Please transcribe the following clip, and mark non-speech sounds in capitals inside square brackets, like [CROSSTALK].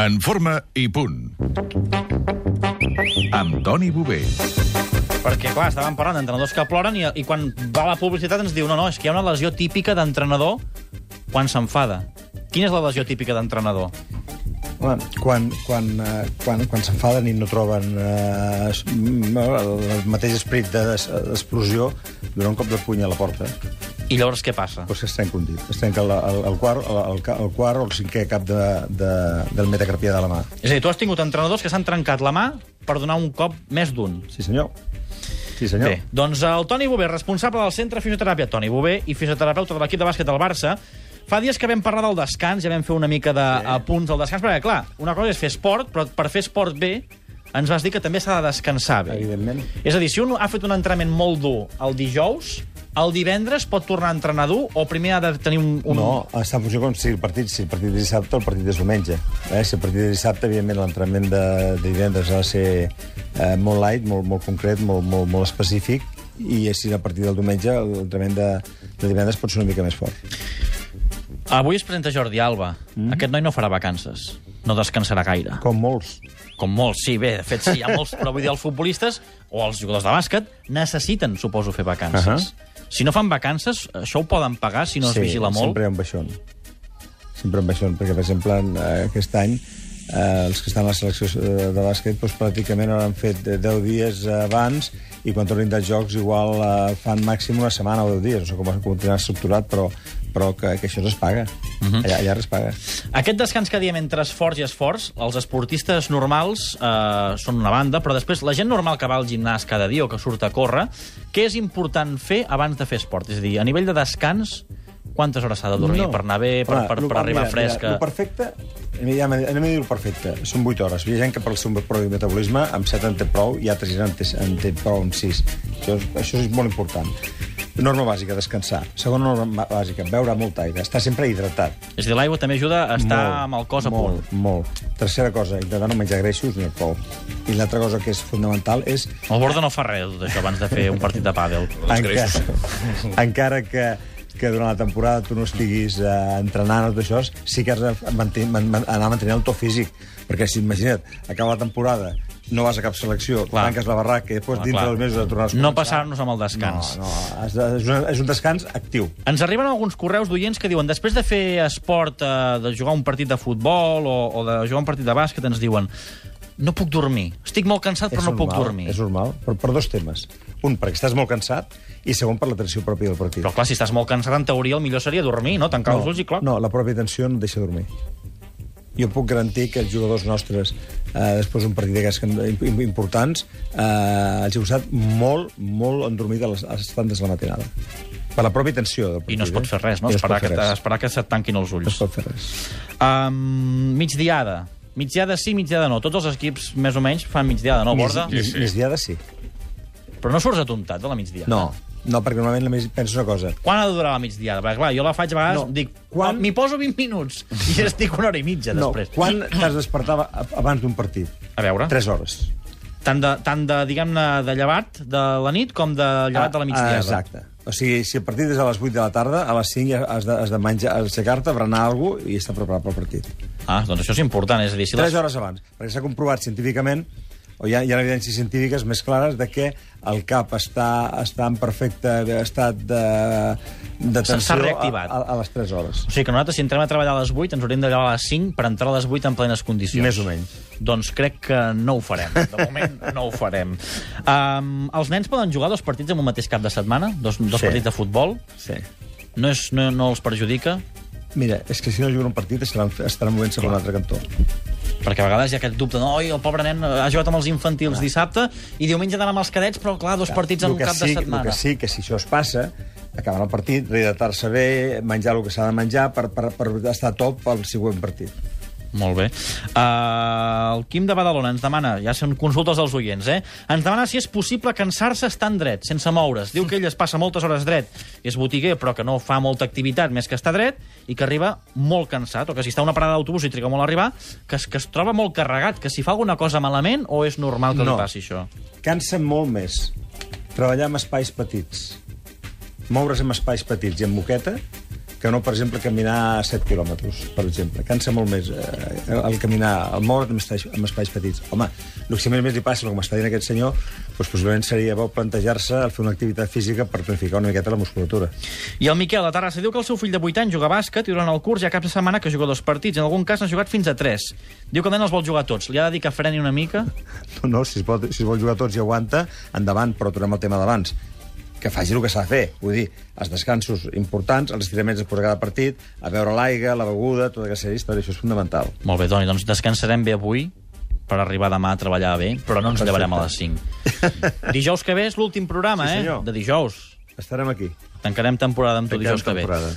En forma i punt. Amb Toni Bové. Perquè, clar, estàvem parlant d'entrenadors que ploren i, i quan va la publicitat ens diu no, no, és que hi ha una lesió típica d'entrenador quan s'enfada. Quina és la lesió típica d'entrenador? Home, quan, quan, eh, quan, quan s'enfaden i no troben eh, es- m- el mateix esperit de- des- d'explosió, donar un cop de puny a la porta, I llavors què passa? doncs que es trenca un dit. Es trenca el, el, el, quart, el, el, ca- el quart o el cinquè cap de, de, del metacarpià de la mà. És a dir, tu has tingut entrenadors que s'han trencat la mà per donar un cop més d'un. Sí, senyor. Sí, senyor. Bé, doncs el Toni Bové, responsable del centre de fisioteràpia Toni Bové i fisioterapeuta de l'equip de bàsquet del Barça, fa dies que vam parlar del descans, ja vam fer una mica d'apunts sí. al descans, perquè, clar, una cosa és fer esport, però per fer esport bé ens vas dir que també s'ha de descansar bé. Evidentment. És a dir, si un ha fet un entrenament molt dur el dijous, el divendres pot tornar a entrenar dur o primer ha de tenir un... un... No, està en funció com sigui el partit. Si el partit és dissabte, el partit és diumenge. Eh? Si el partit és dissabte, evidentment, l'entrenament de, de divendres ha de ser eh, molt light, molt, molt concret, molt, molt, molt específic, i eh, si a partir del diumenge l'entrenament de, de divendres pot ser una mica més fort. Avui es presenta Jordi Alba. Mm. Aquest noi no farà vacances. No descansarà gaire. Com molts. Com molts, sí, bé, de fet sí, hi ha molts, però vull dir, els futbolistes o els jugadors de bàsquet necessiten, suposo, fer vacances. Uh -huh. Si no fan vacances, això ho poden pagar si no es vigila molt. Sempre hi ha un baixón. Sempre un baixón, perquè, per exemple, en, eh, aquest any eh, els que estan a la selecció eh, de bàsquet doncs, pràcticament ho han fet eh, 10 dies abans i quan tornin dels jocs igual eh, fan màxim una setmana o 10 dies, no sé com ho continuarà estructurat, però, però que, que això es paga. Uh Mhm. -huh. allà, allà es paga. Aquest descans que diem entre esforç i esforç, els esportistes normals eh, són una banda, però després la gent normal que va al gimnàs cada dia o que surt a córrer, què és important fer abans de fer esport? És a dir, a nivell de descans, quantes hores s'ha de dormir per anar bé, Eh, per, Home, per, lo- per arribar eh. mira, fresca? Mira, el perfecte, ja me- anem a dir el perfecte, són 8 hores. Hi ha gent que pel seu propi metabolisme amb 7 en té prou i altres gent en té, en té prou amb 6. Això, és- això és molt important. Norma bàsica, descansar. Segona norma bàsica, beure molta aigua, estar sempre hidratat. És a dir, l'aigua també ajuda a estar amb el cos a punt. molt, Molt, Tercera cosa, intentar no menjar greixos ni alcohol. I l'altra cosa que és fonamental és El Borda no fa res de tot això abans de fer un partit de [LAUGHS] pàdel. encara, [LAUGHS] encara que que durant la temporada tu no estiguis eh, entrenant o tot això, sí que has de mantenir, man, man, anar mantenint el to físic. Perquè si, imagina't, acaba la temporada, no vas a cap selecció, Clar. clar. tanques la barraca i després Clar, dintre Ah, clar. dels mesos de tornar a No passar-nos amb el descans. No, no, has de, és, un, és un descans actiu. Ens arriben alguns correus d'oients que diuen després de fer esport, eh, de jugar un partit de futbol o, o de jugar un partit de bàsquet, ens diuen no puc dormir, estic molt cansat però és no normal, puc dormir. És normal, per, per dos temes. Un, perquè estàs molt cansat, i segon, per la tensió pròpia del partit. Però clar, si estàs molt cansat, en teoria el millor seria dormir, no? Tancar els ulls i clar. No, la pròpia tensió no et deixa dormir. Jo puc garantir que els jugadors nostres, eh, després d'un partit d'aquests que- im- im- importants, eh, els he usat molt, molt endormit a les, a les tantes de la matinada. Per la pròpia tensió del partit. eh? I no es pot fer res, no? I Esperar, es pot que, fer res. esperar que se't tanquin els No es ulls. pot fer res. Um, migdiada. Migdiada sí, migdiada no. Tots els equips, més o menys, fan migdiada, no, Borda? Mig- mig- Migdiada sí. Però no surts atontat de la migdiada. No, no, perquè normalment només penso una cosa. Quan ha de durar la migdiada? Perquè, clar, jo la faig a vegades, no. No, dic, quan- quan... m'hi poso 20 minuts [LAUGHS] i estic una hora i mitja No, després. quan t'has despertat ab- abans d'un partit? A veure. 3 hores. Tant de, tant de diguem-ne, de llevat de la nit com de llevat de la migdiada. Ah, Exacte. O sigui, si el partit és a les 8 de la tarda, a les 5 ja has de, has de menjar, aixecar-te, berenar alguna cosa i estar preparat pel partit. Ah, doncs això és important, és a dir, si 3 les... hores abans, perquè s'ha comprovat científicament o hi ha, hi ha evidències científiques més clares de que el cap està, està en perfecte estat de, de S'ha- s'ha tensió a, reactivat. a, a les 3 hores. O sigui que nosaltres, si entrem a treballar a les 8, ens hauríem de llevar a les 5 per entrar a les 8 en plenes condicions. Més o menys. Doncs crec que no ho farem. De moment, no ho farem. Um, els nens poden jugar dos partits en un mateix cap de setmana? Dos, dos Sí. partits de futbol? Sí. No, és, no, no els perjudica? Mira, és que si no juguen un partit estaran, estaran movent-se per un altre cantó. Perquè a vegades hi ha aquest dubte, no, oi, el pobre nen ha jugat amb els infantils clar. dissabte i diumenge ha d'anar amb els cadets, però clar, dos partits en Lo un que cap sí, de setmana. El que sí, que si això es passa, acabar el partit, rehidratar-se bé, menjar el que s'ha de menjar per, per, per estar a top pel següent partit. Molt bé. Uh, el Quim de Badalona ens demana, ja són consultes als oients, eh? Ens demana si és possible cansar-se estant dret, sense moure's. Diu que ell es passa moltes hores dret, és botiguer, però que no fa molta activitat més que estar dret, i que arriba molt cansat, o que si està a una parada d'autobús i triga molt a arribar, que es, que es troba molt carregat, que si fa alguna cosa malament o és normal que No. li passi això? Cansa molt més treballar amb espais petits, moure's amb espais petits i amb moqueta, que no, per exemple, caminar 7 quilòmetres, per exemple. Cansa molt més eh, el caminar, el moure't en espais, en espais petits. Home, el que més li passa, com està dient aquest senyor, doncs possiblement seria bo plantejar-se el fer una activitat física per planificar una miqueta la musculatura. I el Miquel, a Terrassa, diu que el seu fill de 8 anys juga a bàsquet i durant el curs hi ha cap de setmana que juga dos partits. En algun cas n'ha jugat fins a 3. Diu que el nen els vol jugar tots. Li ha de dir que freni una mica? No, no, si es, pot, si es vol jugar tots i aguanta, endavant, però tornem al tema d'abans que faci el que s'ha de fer. Vull dir, els descansos importants, els estiraments després de cada partit, a veure l'aigua, la beguda, tota aquesta història, això és fundamental. Molt bé, Toni, doncs descansarem bé avui per arribar demà a treballar bé, però no ens Perfecte. llevarem a les [LAUGHS] 5. Dijous que ve és l'últim programa, Sí, eh? senyor. De dijous. Estarem aquí. Tancarem temporada amb tu Tanquem dijous que ve. temporada.